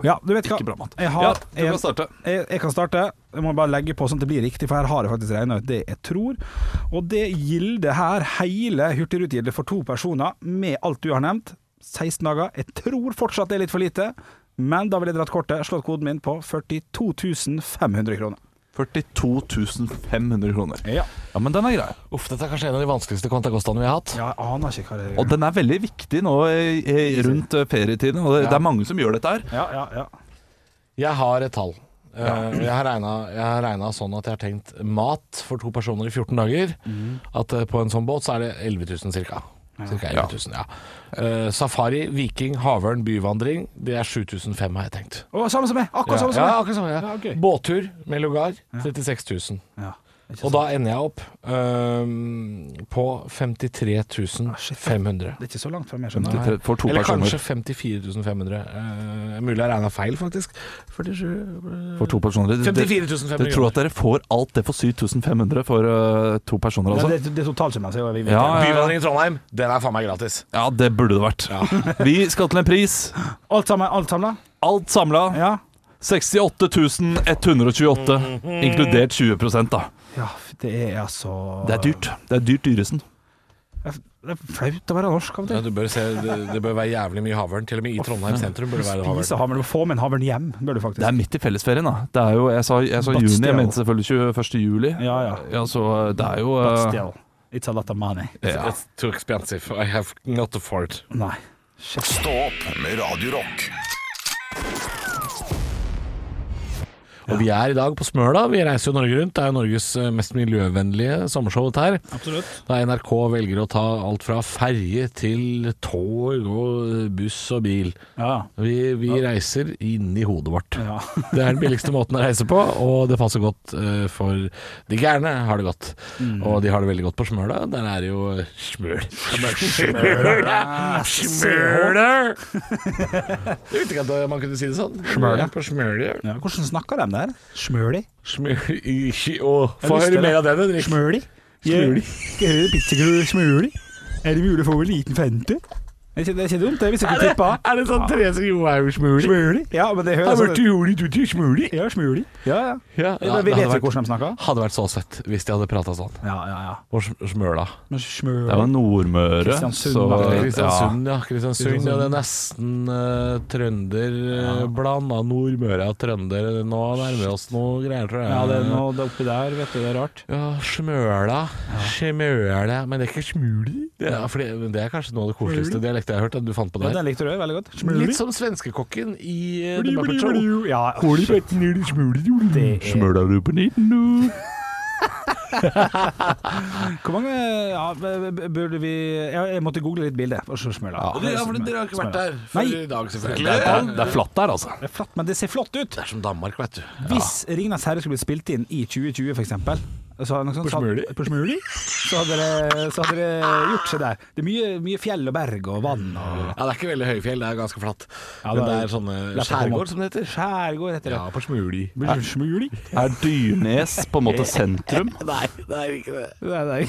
[SPEAKER 5] Ja, du vet hva.
[SPEAKER 4] Ikke bra mat.
[SPEAKER 5] Jeg
[SPEAKER 4] Ja,
[SPEAKER 5] har
[SPEAKER 4] du kan starte.
[SPEAKER 5] jeg, jeg kan starte. Jeg må bare legge på sånn at det blir riktig, for her har jeg faktisk regna ut det jeg tror. Og det gildet her, hele Hurtigrutegildet for to personer, med alt du har nevnt, 16 dager. Jeg tror fortsatt det er litt for lite, men da vil jeg dratt kortet, slått koden min på 42 500 kroner.
[SPEAKER 4] 42 500 kroner.
[SPEAKER 5] Ja.
[SPEAKER 4] Ja, men den er grei.
[SPEAKER 3] uff, dette er kanskje en av de vanskeligste Quantacostaene vi har hatt.
[SPEAKER 5] Jeg aner ikke hva det
[SPEAKER 4] Og den er veldig viktig nå eh, eh, rundt eh, ferietiden, og det, det er mange som gjør dette her.
[SPEAKER 5] Ja, ja, ja.
[SPEAKER 3] Jeg har et tall. Eh, Jeg har regnet- jeg har regna sånn at jeg har tenkt mat for to personer i 14 dager.
[SPEAKER 5] Mhm.
[SPEAKER 3] At eh, på en sånn båt så er det 11 000 cirka. Cirka 11 000, ja. Eh, safari, viking, havørn, byvandring. Det er 7005, har jeg tenkt.
[SPEAKER 5] Å, samme som meg! Akkurat
[SPEAKER 3] Ja,
[SPEAKER 5] samme som
[SPEAKER 3] ja,
[SPEAKER 5] meg!
[SPEAKER 3] akkurat samme. Ja.
[SPEAKER 5] Ja, gøy.
[SPEAKER 3] Båttur med lugar 36 000.
[SPEAKER 5] Ja,
[SPEAKER 3] Og
[SPEAKER 5] ikke sant.
[SPEAKER 3] da ender jeg opp eh, på 53 500.
[SPEAKER 5] Det er ikke så langt fra meg, skjønner du.
[SPEAKER 4] Til- For to
[SPEAKER 3] Eller
[SPEAKER 4] personer.
[SPEAKER 3] kanskje 54 500. Eh, mulig jeg regna feil, faktisk. 47
[SPEAKER 4] For to personer. Det- det-
[SPEAKER 3] 54 500.
[SPEAKER 4] Dere tror at dere får alt det for 7500 for øh, to personer,
[SPEAKER 5] Ja,
[SPEAKER 4] altså?
[SPEAKER 5] det, det er totalsummen. så jeg vet
[SPEAKER 4] Ja,
[SPEAKER 5] ikke.
[SPEAKER 4] ja.
[SPEAKER 3] Byvandring i Trondheim, den er faen meg gratis.
[SPEAKER 4] Ja, det burde det vært. Vi skal til en pris.
[SPEAKER 5] Alt sammen, alt samla?
[SPEAKER 4] Alt samla
[SPEAKER 5] Ja.
[SPEAKER 4] 68 128,
[SPEAKER 5] Mhm.
[SPEAKER 4] inkludert 20 da.
[SPEAKER 5] ja. Det er altså
[SPEAKER 4] Det er dyrt. Det er dyrt dyresen.
[SPEAKER 5] Det er flaut å være norsk av og til.
[SPEAKER 3] Ja, du bør se, det, det bør være jævlig mye havørn. Til og med i Trondheim sentrum bør det være havørn.
[SPEAKER 5] Spise havørn. Du må Få med en havørn hjem, bør du faktisk.
[SPEAKER 4] Det er midt i fellesferien, da. Det er jo, jeg sa, jeg sa
[SPEAKER 5] But
[SPEAKER 4] juni,
[SPEAKER 5] still.
[SPEAKER 4] jeg mente selvfølgelig 21. juli.
[SPEAKER 5] Ja, ja.
[SPEAKER 4] så øh, det er jo
[SPEAKER 5] But
[SPEAKER 4] øh,
[SPEAKER 5] still, it's a lot of money.
[SPEAKER 4] ja.
[SPEAKER 3] It's too expensive. I have not afford.
[SPEAKER 5] Nei.
[SPEAKER 2] Stå opp med Radio Rock.
[SPEAKER 3] Og vi er i dag på Smøla. Vi reiser jo Norge rundt. Det er jo Norges eh, mest miljøvennlige sommershow dette her.
[SPEAKER 5] Absolutt.
[SPEAKER 3] Da NRK velger å ta alt fra ferje til tog og buss og bil.
[SPEAKER 5] Ja.
[SPEAKER 3] Vi, vi reiser inni hodet vårt.
[SPEAKER 5] ja.
[SPEAKER 3] Det er den billigste måten å reise på, og det passer godt eh, for de gærne har det godt. Og de har det veldig godt på Smøla. Der er det jo smøl. Smøla! Smøla! Jeg visste ikke at man kunne si det sånn.
[SPEAKER 5] Smøla.
[SPEAKER 3] På Smøla.
[SPEAKER 5] Ja, Hvordan snakker de der? Smøli?
[SPEAKER 3] Smøla. Ikke- å, Få
[SPEAKER 5] Jeg visste
[SPEAKER 3] høre mer
[SPEAKER 5] det.
[SPEAKER 3] av det, Henrik.
[SPEAKER 5] Smøli?
[SPEAKER 3] Smøli.
[SPEAKER 5] Skal jeg høre pizzakrøll smøli? Er det mulig å få en liten fente? Det er ikke, det er ikke dumt, det, hvis jeg kunne tippa.
[SPEAKER 3] Er det sånn Therese Johaug-smøli?
[SPEAKER 5] Smøli? Ja, men det høres
[SPEAKER 3] Har vært jordet ut i smøli?
[SPEAKER 5] Ja, smøli. Ja, ja.
[SPEAKER 3] Ja,
[SPEAKER 5] ja vi
[SPEAKER 3] det
[SPEAKER 5] vet
[SPEAKER 3] hadde
[SPEAKER 5] jo
[SPEAKER 3] vært,
[SPEAKER 5] hvordan de snakker.
[SPEAKER 3] hadde vært så fett hvis de hadde prata sånn.
[SPEAKER 5] Ja, ja, ja.
[SPEAKER 3] På Sm- Smøla.
[SPEAKER 5] Men smøli
[SPEAKER 4] Det er jo Nordmøre,
[SPEAKER 5] Kristiansund,
[SPEAKER 4] så
[SPEAKER 5] da.
[SPEAKER 4] ja.
[SPEAKER 3] Kristiansund, ja. Kristiansund, ja det er nesten eh, trønder uh, blanda Nordmøre og trønder. Nå nærmer vi oss noe greier, tror jeg.
[SPEAKER 5] Ja, det er noe det er oppi der, vet du. Det er rart.
[SPEAKER 3] Ja, Smøla. Smøla. Men det er ikke smuli. Det er, fordi, men det er kanskje noe av det koseligste dialektet jeg har hørt. At du fant på
[SPEAKER 5] Ja,
[SPEAKER 3] det her.
[SPEAKER 5] den likte du veldig godt.
[SPEAKER 3] Litt som svenskekokken i eh, The
[SPEAKER 5] Bli, bli,
[SPEAKER 3] Muppet
[SPEAKER 5] bli,
[SPEAKER 3] Show.
[SPEAKER 5] Ja, det
[SPEAKER 4] Smøla
[SPEAKER 5] er
[SPEAKER 4] du på nitten, du?
[SPEAKER 5] Hvor mange ja, b- b- burde vi Jeg, jeg måtte google litt bilde. Og så smøla.
[SPEAKER 3] Ja, for dere har ikke vært der
[SPEAKER 5] Nei.
[SPEAKER 3] før i dag,
[SPEAKER 4] Det
[SPEAKER 3] selvfølgelig.
[SPEAKER 4] er, det er flatt der, altså.
[SPEAKER 5] Det er flatt, men det ser flott ut.
[SPEAKER 3] Det er som Danmark, vet du.
[SPEAKER 5] Hvis 'Ringenes herre' skulle blitt spilt inn i 2020, f.eks., Så hadde, noe sånt-
[SPEAKER 3] Pushmuli?
[SPEAKER 5] Pushmuli? Så, hadde det- så hadde det gjort seg der. Det er mye, mye fjell og berg og vann og
[SPEAKER 3] Ja, det er ikke veldig høyfjell, det er ganske flatt.
[SPEAKER 5] Ja,
[SPEAKER 3] Men
[SPEAKER 5] det
[SPEAKER 3] det
[SPEAKER 5] er-
[SPEAKER 3] er sånne
[SPEAKER 5] lett å komme opp.
[SPEAKER 3] skjærgård, som det heter.
[SPEAKER 5] skjærgård, heter det.
[SPEAKER 3] Ja, på Smuli.
[SPEAKER 5] Pushmuli?
[SPEAKER 4] Er Dyrnes på en måte sentrum?
[SPEAKER 3] Nei, det er ikke det.
[SPEAKER 5] Nei, nei.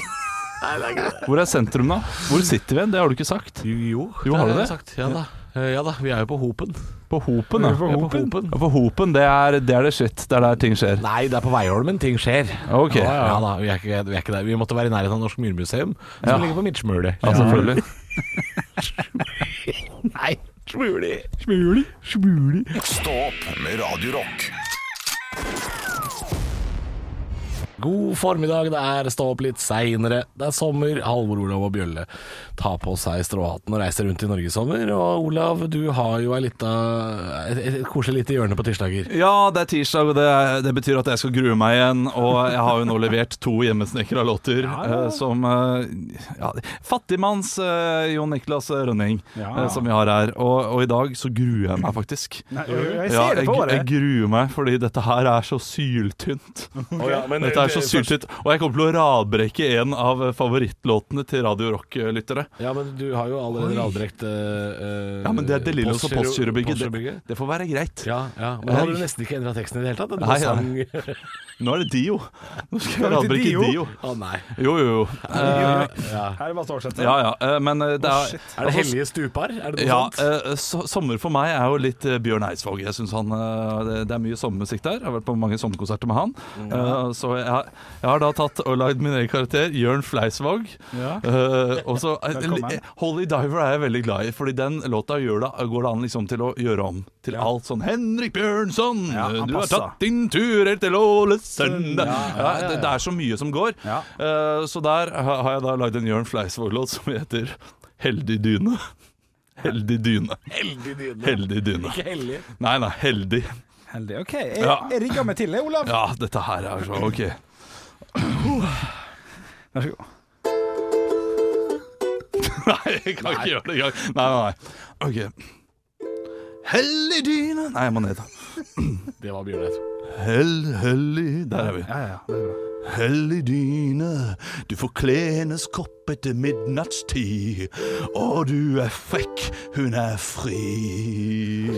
[SPEAKER 4] Hvor er sentrum, da? Hvor sitter vi hen? Det har du ikke sagt.
[SPEAKER 3] Jo,
[SPEAKER 4] Jo, har du
[SPEAKER 3] jeg
[SPEAKER 4] det?
[SPEAKER 3] Sagt. Ja, da. Eh, ja da, vi er jo på Hopen.
[SPEAKER 4] På Hopen, da.
[SPEAKER 3] Vi er på
[SPEAKER 4] Ja,
[SPEAKER 3] Hopen.
[SPEAKER 4] Ja, på Hopen, det er det, er det shit. Det er der ting skjer.
[SPEAKER 3] Nei, det er på Veiholmen ting skjer.
[SPEAKER 4] Ok.
[SPEAKER 3] Ja, ja, da, vi, er ikke, vi er ikke der. Vi måtte være i nærheten av Norsk Myrmuseum, som
[SPEAKER 4] Ja.
[SPEAKER 3] ligger på Midtsmuli.
[SPEAKER 4] Ja, selvfølgelig.
[SPEAKER 3] Nei, Smuli.
[SPEAKER 2] Stå opp med Radio Rock.
[SPEAKER 3] God formiddag, det er stå opp litt seinere. Det er sommer. Halvor, Olav og Bjølle tar på seg stråhatten og reiser rundt i Norge i sommer. Og Olav, du har jo ei lita et, et, et koselig lite hjørne på tirsdager.
[SPEAKER 4] Ja, det er tirsdag, og det, det betyr at jeg skal grue meg igjen. Og jeg har jo nå levert to hjemmesnekra låter eh, som eh, ja, Fattigmanns eh, Jon Niklas Rønning,
[SPEAKER 5] Ja.
[SPEAKER 4] eh, som vi har her. Og, og i dag så gruer jeg meg faktisk.
[SPEAKER 5] Nei, jeg, jeg
[SPEAKER 4] Ja,
[SPEAKER 5] ser det
[SPEAKER 4] jeg,
[SPEAKER 5] på
[SPEAKER 4] jeg
[SPEAKER 5] året.
[SPEAKER 4] gruer meg, fordi dette her er så syltynt. Dette er så syltynt Og jeg kommer til å radbrekke en av favorittlåtene til Radio eh, Rock-lyttere.
[SPEAKER 3] Ja, men du har jo allerede eh, radbrekt uh,
[SPEAKER 4] Ja, men det er De Lillos og Postgirobygget. Det, det får være greit.
[SPEAKER 3] Ja, ja, men da har du nesten ikke endra teksten i det hele tatt. Det
[SPEAKER 4] Nei,
[SPEAKER 3] er
[SPEAKER 4] nei.
[SPEAKER 3] bare sang.
[SPEAKER 4] Nå er det Dio. Nå skal jeg
[SPEAKER 5] Skal vi til
[SPEAKER 4] radbrekke
[SPEAKER 5] Dio?
[SPEAKER 4] Dio.
[SPEAKER 3] Å nei.
[SPEAKER 4] Jo, jo, jo. Eh,
[SPEAKER 5] Her er det bare å oversette.
[SPEAKER 4] ja, ja. eh, Men eh, det
[SPEAKER 5] shit.
[SPEAKER 4] er
[SPEAKER 3] Er det hellige stupar? Er det noe
[SPEAKER 4] ja,
[SPEAKER 3] sånt?
[SPEAKER 4] eh, so sommer for meg er jo litt eh, Bjørn Eidsvåg. Jeg synes han, eh, det, det er mye sommermusikk der. Jeg har vært på mange sommerkonserter med han.
[SPEAKER 3] Mm.
[SPEAKER 4] Eh, så jeg, har- jeg har da tatt og lagd min egen karakter, Jørn Fleisvåg.
[SPEAKER 5] Ja.
[SPEAKER 4] Eh, og så, eh,
[SPEAKER 5] Velkommen.
[SPEAKER 4] eh, Holy Diver er jeg veldig glad i, Fordi den låta gjør det, går det an liksom til å gjøre om til alt sånn Henrik Bjørnson,
[SPEAKER 5] Ja, han
[SPEAKER 4] du har
[SPEAKER 5] passer.
[SPEAKER 4] tatt din tur helt til Ålesund. Ja, det, det er så mye som går.
[SPEAKER 5] Ja.
[SPEAKER 4] Eh, så der har har jeg da lagd en Jørn Fleisvåg-låt som heter Heldig dyne. Heldig dyne.
[SPEAKER 3] Heldig dyne.
[SPEAKER 4] Heldig dyne.
[SPEAKER 3] Ikke hellig.
[SPEAKER 4] Nei, nei, heldig.
[SPEAKER 5] Heldig. OK, jeg,
[SPEAKER 4] Ja.
[SPEAKER 5] jeg rigger meg til det, Olav.
[SPEAKER 4] Ja, dette her er så OK.
[SPEAKER 5] Vær så god.
[SPEAKER 4] Nei, jeg kan ikke gjøre det engang. Nei, nei, nei. OK. Hellig dyne Nei, jeg må ned.
[SPEAKER 3] Det var Bjørn Eidsvåg.
[SPEAKER 4] Hell, hellig Der er vi.
[SPEAKER 5] Ja, ja, ja, det er bra.
[SPEAKER 4] Hellig dyne, du får kle hennes kopp etter midnattstid. Og du er frekk, hun er fri.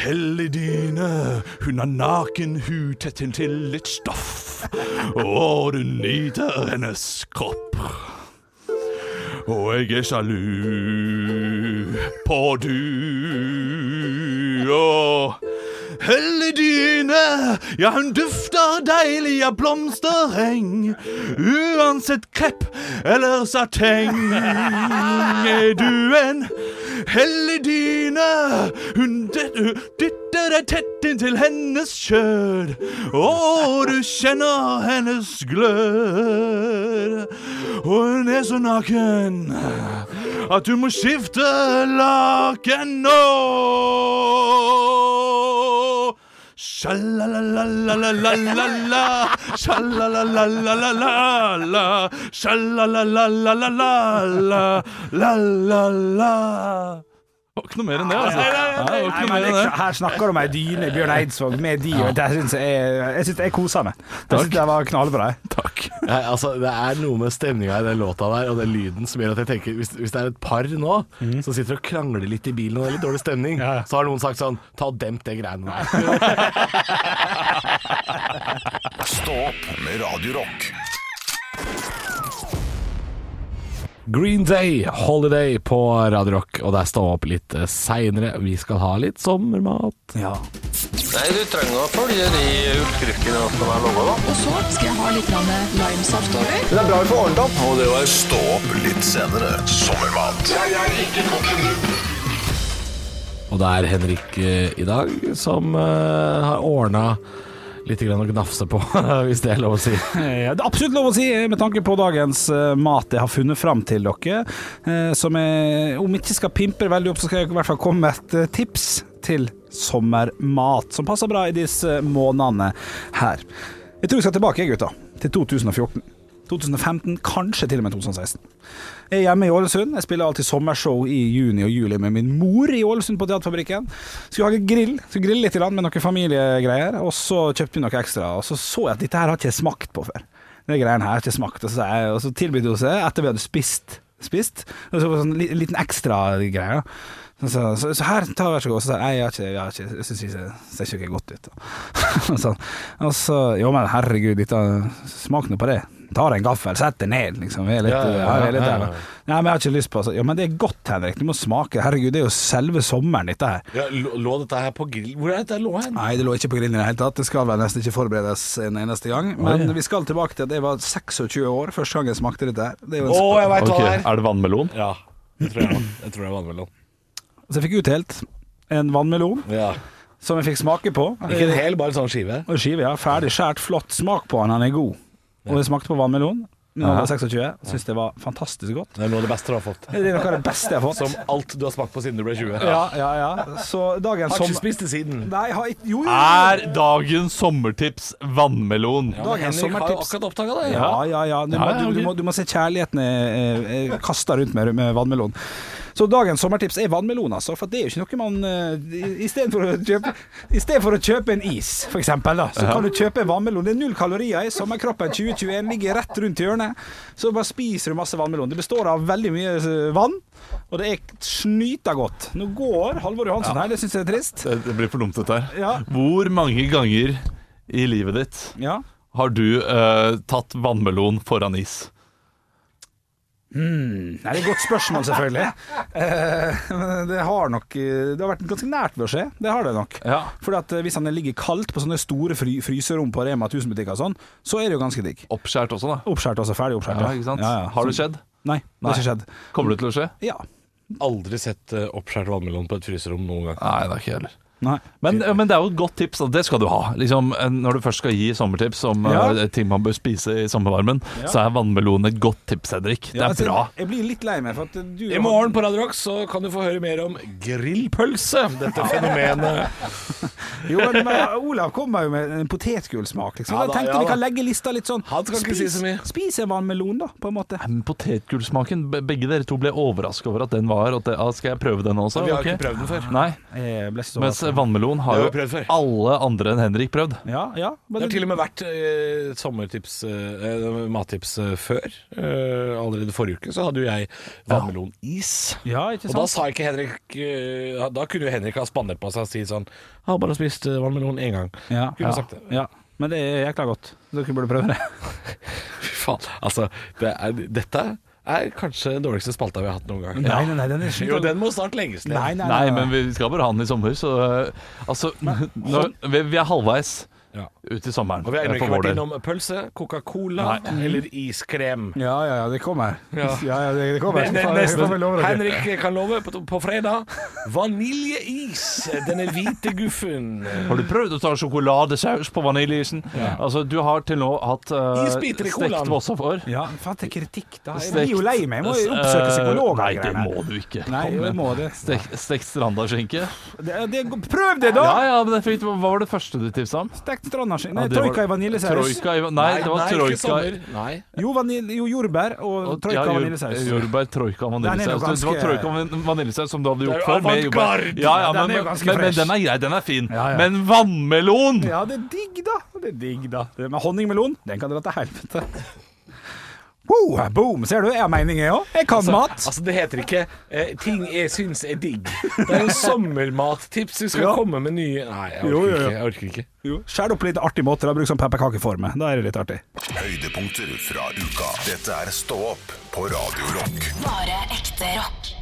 [SPEAKER 4] Hellig dyne, hun har naken hud tett inntil litt stoff. Og du nyter hennes kropp. Og jeg er sjalu på du. Og Hellig dyne, ja hun dufter deilig av blomstereng. Uansett krepp eller sateng er du en hellig dyne. Hun det- hun dytter deg tett inntil hennes kjød, og du kjenner hennes glød. Og hun er så naken at du må skifte laken nå. Sjalalalalala, sjalalalalala, sjalalalalala, la-la-la. Det var ikke noe mer enn det, altså. Nei, det var
[SPEAKER 5] Nei,
[SPEAKER 4] ikke noe mer
[SPEAKER 5] men
[SPEAKER 4] enn
[SPEAKER 5] liksom,
[SPEAKER 4] det.
[SPEAKER 5] her snakker du om ei dyne i Bjørn Eidsvåg med de, og det syns jeg Jeg synes jeg koser meg. Jeg syns det var knallbra. jeg.
[SPEAKER 4] Takk.
[SPEAKER 3] Nei, altså, det er noe med stemninga i den låta der, og den lyden som gjør at jeg tenker Hvis, hvis det er et par nå som sitter og krangler litt i bilen, og det er litt dårlig stemning,
[SPEAKER 5] Mhm. Ja, ja.
[SPEAKER 3] så har noen sagt sånn Ta og demp det greiene der.
[SPEAKER 2] Stå opp med Radio Rock.
[SPEAKER 3] Green Day, Holiday på Radio Rock, og der står opp litt seinere. Vi skal ha litt sommermat.
[SPEAKER 5] Ja.
[SPEAKER 6] Nei, du trenger å følge de utskriftene som er laga, da.
[SPEAKER 1] Og så skal jeg ha litt grann limesaft over.
[SPEAKER 2] Stå opp litt senere. Sommermat
[SPEAKER 3] Og det er Henrik eh, i dag som eh, har ordna litt grann å gnafse på, hvis det er lov å si.
[SPEAKER 5] Eh, Det er absolutt lov å si eh, med tanke på dagens eh, mat jeg har funnet fram til dere. eh, Som jeg, om jeg ikke skal pimpe det veldig opp, så skal jeg i hvert fall komme med et eh, tips til sommermat, som passer eh, bra i disse månedene her. Jeg tror vi skal tilbake, jeg, gutta, til 2014. 2015, kanskje til og med 2016. Jeg er hjemme i Ålesund. Jeg spiller alltid sommershow i juni og juli med min mor i Ålesund på Teaterfabrikken. Skulle lage grill, skulle grille litt i land med noen familiegreier, og så kjøpte vi noe ekstra. Og så så jeg at dette her har ikke jeg smakt på før. Det greiene her har ikke jeg smakt, og så, sa jeg, og så tilbød hun seg etter vi hadde spist. spist og så var det sånn li- liten ekstra greie. Så, sa jeg, så, så her, ta vær så god. Så sa jeg, nei, jeg har ikke, jeg har ikke, jeg synes ikke, det ser ikke godt ut. Og sånn. Og så, jo men herregud, dette, smak nå på det. Tar en gaffel, sett det ned, liksom. Vi er litt,
[SPEAKER 3] Ja, ja, ja,
[SPEAKER 5] ja, vi er litt
[SPEAKER 3] ja,
[SPEAKER 5] der,
[SPEAKER 3] ja.
[SPEAKER 5] da. Nei, men jeg har ikke lyst på altså. Ja, men det er godt, Henrik. Du må smake. Herregud, det er jo selve sommeren, dette her.
[SPEAKER 3] Ja, lå lå dette her på grill? Hvor er dette lå hen?
[SPEAKER 5] Nei, det lå ikke på grillen i det hele tatt. Det skal vel nesten ikke forberedes en eneste gang. Men vi skal tilbake til at jeg var 26 år første gang jeg smakte dette her. Det er jo
[SPEAKER 3] Å,
[SPEAKER 5] en
[SPEAKER 3] jeg veit
[SPEAKER 4] Ok,
[SPEAKER 3] hva det er!
[SPEAKER 4] Er det vannmelon?
[SPEAKER 3] Ja, det tror jeg, jeg tror det er vannmelon.
[SPEAKER 5] Så jeg fikk utdelt en vannmelon
[SPEAKER 3] Ja.
[SPEAKER 5] som jeg fikk smake på.
[SPEAKER 3] Ikke en hel, bare en sånn skive.
[SPEAKER 5] Og skive, ja. Ferdig skåret, flott. Smak på den, den er god. Og jeg smakte på vannmelon. Nå var jeg 26, syntes det var fantastisk godt.
[SPEAKER 3] Det er noe av det beste du har fått.
[SPEAKER 5] Det er noe av det beste jeg har fått.
[SPEAKER 3] Som alt du har smakt på siden du ble 20.
[SPEAKER 5] Ja, ja, ja. Så dagens
[SPEAKER 3] Har ikke
[SPEAKER 5] sommer...
[SPEAKER 3] spist det siden.
[SPEAKER 5] Nei, jeg har ikke Jo, jo, jo.
[SPEAKER 4] Er dagens sommertips vannmelon?
[SPEAKER 3] Ja, men
[SPEAKER 5] Dagens
[SPEAKER 3] Henrik har jo
[SPEAKER 5] sommertips.
[SPEAKER 3] akkurat oppdaga det.
[SPEAKER 5] Ja, ja, ja. Du,
[SPEAKER 4] Ja, ja,
[SPEAKER 5] må, du,
[SPEAKER 4] ok.
[SPEAKER 5] du, må, du må se kjærligheten eh, eh, kasta rundt med, med vannmelon. Så dagens sommertips er vannmelon, altså. For det er jo ikke noe man eh, i- Istedenfor å, kjøpe- i stedet for å kjøpe en is, for eksempel, da, så kan du kjøpe en vannmelon. Det er null kalorier i. Sommerkroppen 2021 ligger rett rundt hjørnet. Så bare spiser du masse vannmelon. Det består av veldig mye eh, vann, og det er snyta godt. Nå går Halvor Johansen her, det syns jeg er trist.
[SPEAKER 4] Det, det blir for dumt, dette her.
[SPEAKER 5] Ja.
[SPEAKER 4] Hvor mange ganger i livet ditt
[SPEAKER 5] Ja.
[SPEAKER 4] har du eh, tatt vannmelon foran is?
[SPEAKER 5] Nei, det er et godt spørsmål, selvfølgelig. Eh, men det har nok eh, Det har vært ganske nært ved å skje. Det har det nok.
[SPEAKER 4] Ja.
[SPEAKER 5] Fordi at eh, Hvis den ligger kaldt på sånne store fry fryserom på Rema 1000-butikker og sånn, så er det jo ganske digg.
[SPEAKER 4] Oppskjært også, da.
[SPEAKER 5] Oppskjært også. Ferdig oppskjært.
[SPEAKER 4] Ja, ikke sant?
[SPEAKER 5] Ja, ja.
[SPEAKER 4] Har det
[SPEAKER 5] Så-
[SPEAKER 4] skjedd?
[SPEAKER 5] Nei, det har ikke skjedd.
[SPEAKER 4] Kommer det til å skje?
[SPEAKER 5] Ja.
[SPEAKER 3] Aldri sett eh, oppskjært vannmelon på et fryserom noen gang.
[SPEAKER 4] Nei, det har ikke jeg heller.
[SPEAKER 5] Nei.
[SPEAKER 4] Men, eh, men det er jo et godt tips, og det skal du ha. Liksom, eh, når du først skal gi sommertips om
[SPEAKER 5] Ja.
[SPEAKER 4] eh, ting man bør spise i sommervarmen, så er vannmelon et godt tips, Henrik. Det er
[SPEAKER 5] Ja, altså,
[SPEAKER 4] bra.
[SPEAKER 5] Jeg blir litt lei meg for at du
[SPEAKER 3] I morgen på Radio Rock så kan du få høre mer om grillpølse. Dette fenomenet.
[SPEAKER 5] Jo, men men Olav kommer jo med en potetgullsmak, liksom.
[SPEAKER 3] Ja
[SPEAKER 5] jeg
[SPEAKER 3] da,
[SPEAKER 5] tenkte
[SPEAKER 3] ja
[SPEAKER 5] vi
[SPEAKER 3] da.
[SPEAKER 5] kan legge lista litt sånn.
[SPEAKER 3] Han skal ikke si så mye.
[SPEAKER 5] Spis en vannmelon, da, på en måte.
[SPEAKER 4] Men Potetgullsmaken, be- begge dere to ble overraska over at den var. At det, ah, skal jeg prøve den også?
[SPEAKER 3] Vi har
[SPEAKER 4] Ok.
[SPEAKER 3] ikke prøvd den før.
[SPEAKER 4] Nei,
[SPEAKER 5] Jeg ble ikke så
[SPEAKER 4] Mens
[SPEAKER 5] overrasket.
[SPEAKER 4] vannmelon har
[SPEAKER 3] Det
[SPEAKER 4] jo
[SPEAKER 3] har vi prøvd før.
[SPEAKER 4] alle andre enn Henrik prøvd.
[SPEAKER 5] Ja, ja.
[SPEAKER 3] Det har til og med vært eh, sommertips, eh, mattips eh, før. Eh, allerede forrige uke så hadde jo jeg vannmelonis.
[SPEAKER 5] ja,
[SPEAKER 3] Og
[SPEAKER 5] ikke sant?
[SPEAKER 3] da sa ikke Henrik eh, Da kunne jo Henrik ha spandert på seg og si sånn 'Jeg har bare spist eh, vannmelon én gang'.
[SPEAKER 5] Ja,
[SPEAKER 3] Kunne
[SPEAKER 5] ja,
[SPEAKER 3] sagt det.
[SPEAKER 5] Ja. Men det er jækla godt. Dere burde prøve det.
[SPEAKER 3] Fy faen. Altså, det er, dette er kanskje den dårligste spalta vi har hatt noen gang.
[SPEAKER 5] Nei, nei, nei, den er
[SPEAKER 3] Jo, den må snart legges ned.
[SPEAKER 5] Nei, nei, nei,
[SPEAKER 4] Nei, men vi skal bare ha den i sommer, så eh, Altså, nå, vi, vi er halvveis
[SPEAKER 3] Ja.
[SPEAKER 4] ut i sommeren.
[SPEAKER 3] Og vi har
[SPEAKER 4] eh,
[SPEAKER 3] ennå ikke
[SPEAKER 4] for vår
[SPEAKER 3] vært
[SPEAKER 4] del.
[SPEAKER 3] innom pølse, Coca-Cola eller iskrem.
[SPEAKER 5] Ja, ja, ja, det kommer. Ja,
[SPEAKER 3] Ja.
[SPEAKER 5] ja, det, det kommer.
[SPEAKER 3] Men, men,
[SPEAKER 5] Faen, jeg kommer, jeg lover
[SPEAKER 3] nesten.
[SPEAKER 5] dere.
[SPEAKER 3] Henrik kan love på, på fredag. Vaniljeis. Denne hvite guffen.
[SPEAKER 4] Har du prøvd å ta sjokoladesaus på vaniljeisen? Altså, du har til nå hatt eh,
[SPEAKER 3] Isbiter i colaen.
[SPEAKER 4] stekt våssafor.
[SPEAKER 5] Ja, faen, det er kritikk, da. Jeg
[SPEAKER 4] Stekt-
[SPEAKER 5] blir jo lei meg. Jeg må jo oppsøke
[SPEAKER 4] Eh, Nei,
[SPEAKER 5] psykolog. og
[SPEAKER 4] det
[SPEAKER 5] greier.
[SPEAKER 4] må du ikke.
[SPEAKER 5] Nei,
[SPEAKER 4] Kom
[SPEAKER 5] jeg
[SPEAKER 4] igjen.
[SPEAKER 5] må det.
[SPEAKER 4] Stekt, stekt strandaskinke.
[SPEAKER 5] det, det prøv det, da!
[SPEAKER 4] Ja, ja, men det er fint. Hva var det første du tipsa om?
[SPEAKER 5] Stekt strandaskinn.
[SPEAKER 4] Ja,
[SPEAKER 5] Nei,
[SPEAKER 4] det var-
[SPEAKER 5] troika i vaniljesaus.
[SPEAKER 4] Troika i va- Nei, det var
[SPEAKER 3] ikke
[SPEAKER 4] troika
[SPEAKER 3] sommer. Nei.
[SPEAKER 5] Jo, vanil- jo, jordbær og
[SPEAKER 4] Og-
[SPEAKER 5] troika
[SPEAKER 4] ja,
[SPEAKER 5] i
[SPEAKER 4] jord-
[SPEAKER 5] vaniljesaus.
[SPEAKER 4] Jordbær, troika og
[SPEAKER 5] Den er jo
[SPEAKER 4] vaniljesaus. Det- Det var
[SPEAKER 5] ganske-
[SPEAKER 4] troika og van- vaniljesaus som du hadde
[SPEAKER 3] er
[SPEAKER 4] gjort
[SPEAKER 3] jo
[SPEAKER 4] før. med jordbær.
[SPEAKER 3] avantgarde.
[SPEAKER 4] Ja, ja,
[SPEAKER 5] Den
[SPEAKER 4] men,
[SPEAKER 5] er jo
[SPEAKER 4] men,
[SPEAKER 5] ganske
[SPEAKER 4] men,
[SPEAKER 5] fresh.
[SPEAKER 4] den er grei, den er fin.
[SPEAKER 5] Ja, ja.
[SPEAKER 4] Men vannmelon!
[SPEAKER 5] Ja, det er digg, da. Det er digg, da. Det med honningmelon, den kan dra til helvete. Wow, boom! Ser du, jeg har mening, jeg òg. Jeg kan mat.
[SPEAKER 3] Altså, det heter ikke eh, 'ting jeg syns er digg'. Det er jo sommermattips. Du skal
[SPEAKER 5] Ja.
[SPEAKER 3] komme med nye Nei, jeg orker
[SPEAKER 5] Jo, jo, jo.
[SPEAKER 3] ikke. Jeg orker ikke.
[SPEAKER 5] Jo, Skjær det opp på litt artig måte. da Bruk sånn pepperkakeforme. Da er det litt artig.
[SPEAKER 2] Høydepunkter fra uka. Dette er Stå opp på Radio Rock.
[SPEAKER 7] Bare ekte rock.